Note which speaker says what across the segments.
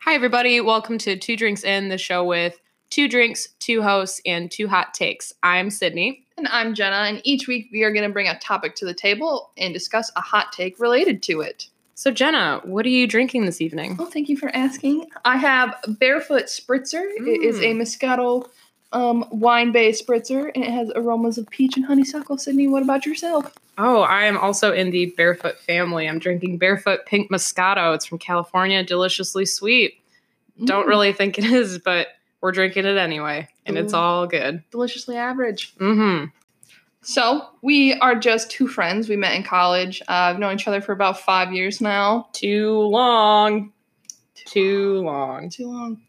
Speaker 1: Hi, everybody. Welcome to Two Drinks In, the show with two drinks, two hosts, and two hot takes. I'm Sydney.
Speaker 2: And I'm Jenna, and each week we are going to bring a topic to the table and discuss a hot take related to it.
Speaker 1: So, Jenna, what are you drinking this evening?
Speaker 2: Well, thank you for asking. I have Barefoot Spritzer. It is a Moscato um, wine based spritzer, and it has aromas of peach and honeysuckle. Sydney, what about yourself?
Speaker 1: Oh, I am also in the Barefoot family. I'm drinking Barefoot Pink Moscato. It's from California, deliciously sweet. Don't
Speaker 2: Mm,
Speaker 1: really think it is, but we're drinking it anyway, and it's
Speaker 2: Ooh.
Speaker 1: all good.
Speaker 2: Deliciously average.
Speaker 1: Mm-hmm.
Speaker 2: So, we are just two friends we met in college. Uh, I've known each other for about five years now.
Speaker 1: Too long. Too long.
Speaker 2: too long.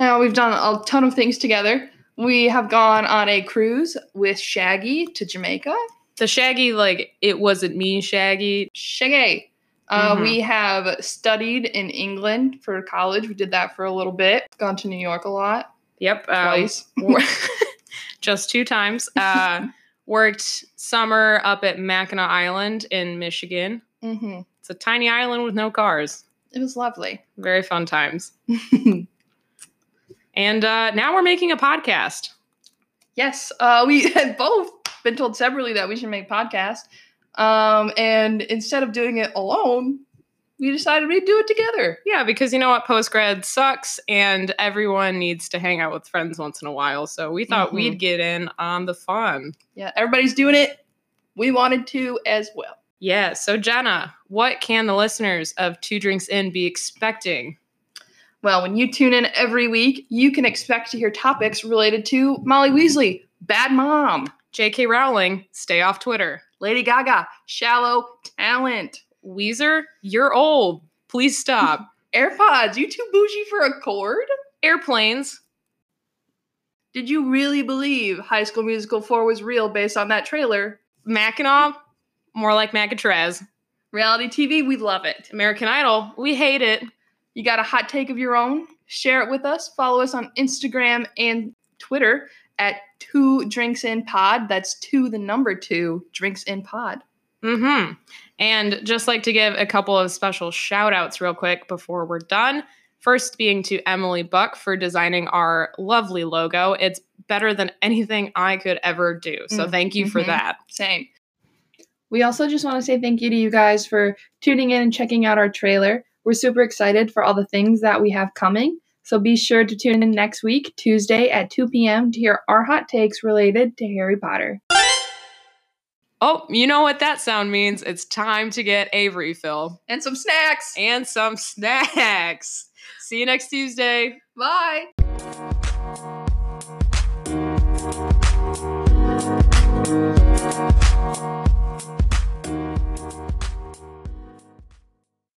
Speaker 2: Now we've done a ton of things together. We have gone on a cruise with Shaggy to Jamaica.
Speaker 1: The Shaggy, like, it wasn't me, Shaggy.
Speaker 2: Shaggy. Uh,
Speaker 1: Mhm.
Speaker 2: We have studied in England for college. We did that for a little bit. Gone to New York a lot.
Speaker 1: Yep. um,
Speaker 2: Twice.
Speaker 1: wor- just two times. Uh, worked summer up at Mackinac Island in Michigan.
Speaker 2: hmm
Speaker 1: It's a tiny island with no cars.
Speaker 2: It was lovely.
Speaker 1: Very fun times. And uh, now we're making a podcast.
Speaker 2: yes, uh, we had both been told separately that we should make podcasts. Um, and instead of doing it alone, we decided we'd do it together.
Speaker 1: Yeah, because you know what? Post grad sucks, and everyone needs to hang out with friends once in a while. So we thought
Speaker 2: Mhm.
Speaker 1: we'd get in on the fun.
Speaker 2: Yeah, everybody's doing it. We wanted to as well.
Speaker 1: Yeah. So, Jenna, what can the listeners of Two Drinks In be expecting?
Speaker 2: Well, when you tune in every week, you can expect to hear topics related to Molly Weasley, Bad Mom,
Speaker 1: J.K. Rowling, stay off Twitter.
Speaker 2: Lady Gaga, Shallow Talent,
Speaker 1: Weezer, you're old. Please stop.
Speaker 2: AirPods, you too bougie for a cord?
Speaker 1: Airplanes.
Speaker 2: Did you really believe High School Musical 4 was real based on that trailer?
Speaker 1: Mackinac, more like Macatraz.
Speaker 2: Reality TV, we love it.
Speaker 1: American Idol, we hate it.
Speaker 2: You got a hot take of your own? Share it with us. Follow us on Instagram and Twitter at Two Drinks In Pod. That's two, the number two, Drinks In Pod.
Speaker 1: Mm-hmm. And just like to give a couple of special shout outs real quick before we're done. First being to Emily Buck for designing our lovely logo. It's better than anything I could ever do. So
Speaker 2: Mm,
Speaker 1: thank you for
Speaker 2: mhm.
Speaker 1: that.
Speaker 2: Same. We also just want to say thank you to you guys for tuning in and checking out our trailer. We're super excited for all the things that we have coming. So be sure to tune in next week, Tuesday at 2 p.m., to hear our hot takes related to Harry Potter.
Speaker 1: Oh, you know what that sound means. It's time to get a refill
Speaker 2: And some snacks.
Speaker 1: and some snacks. See you next Tuesday.
Speaker 2: Bye.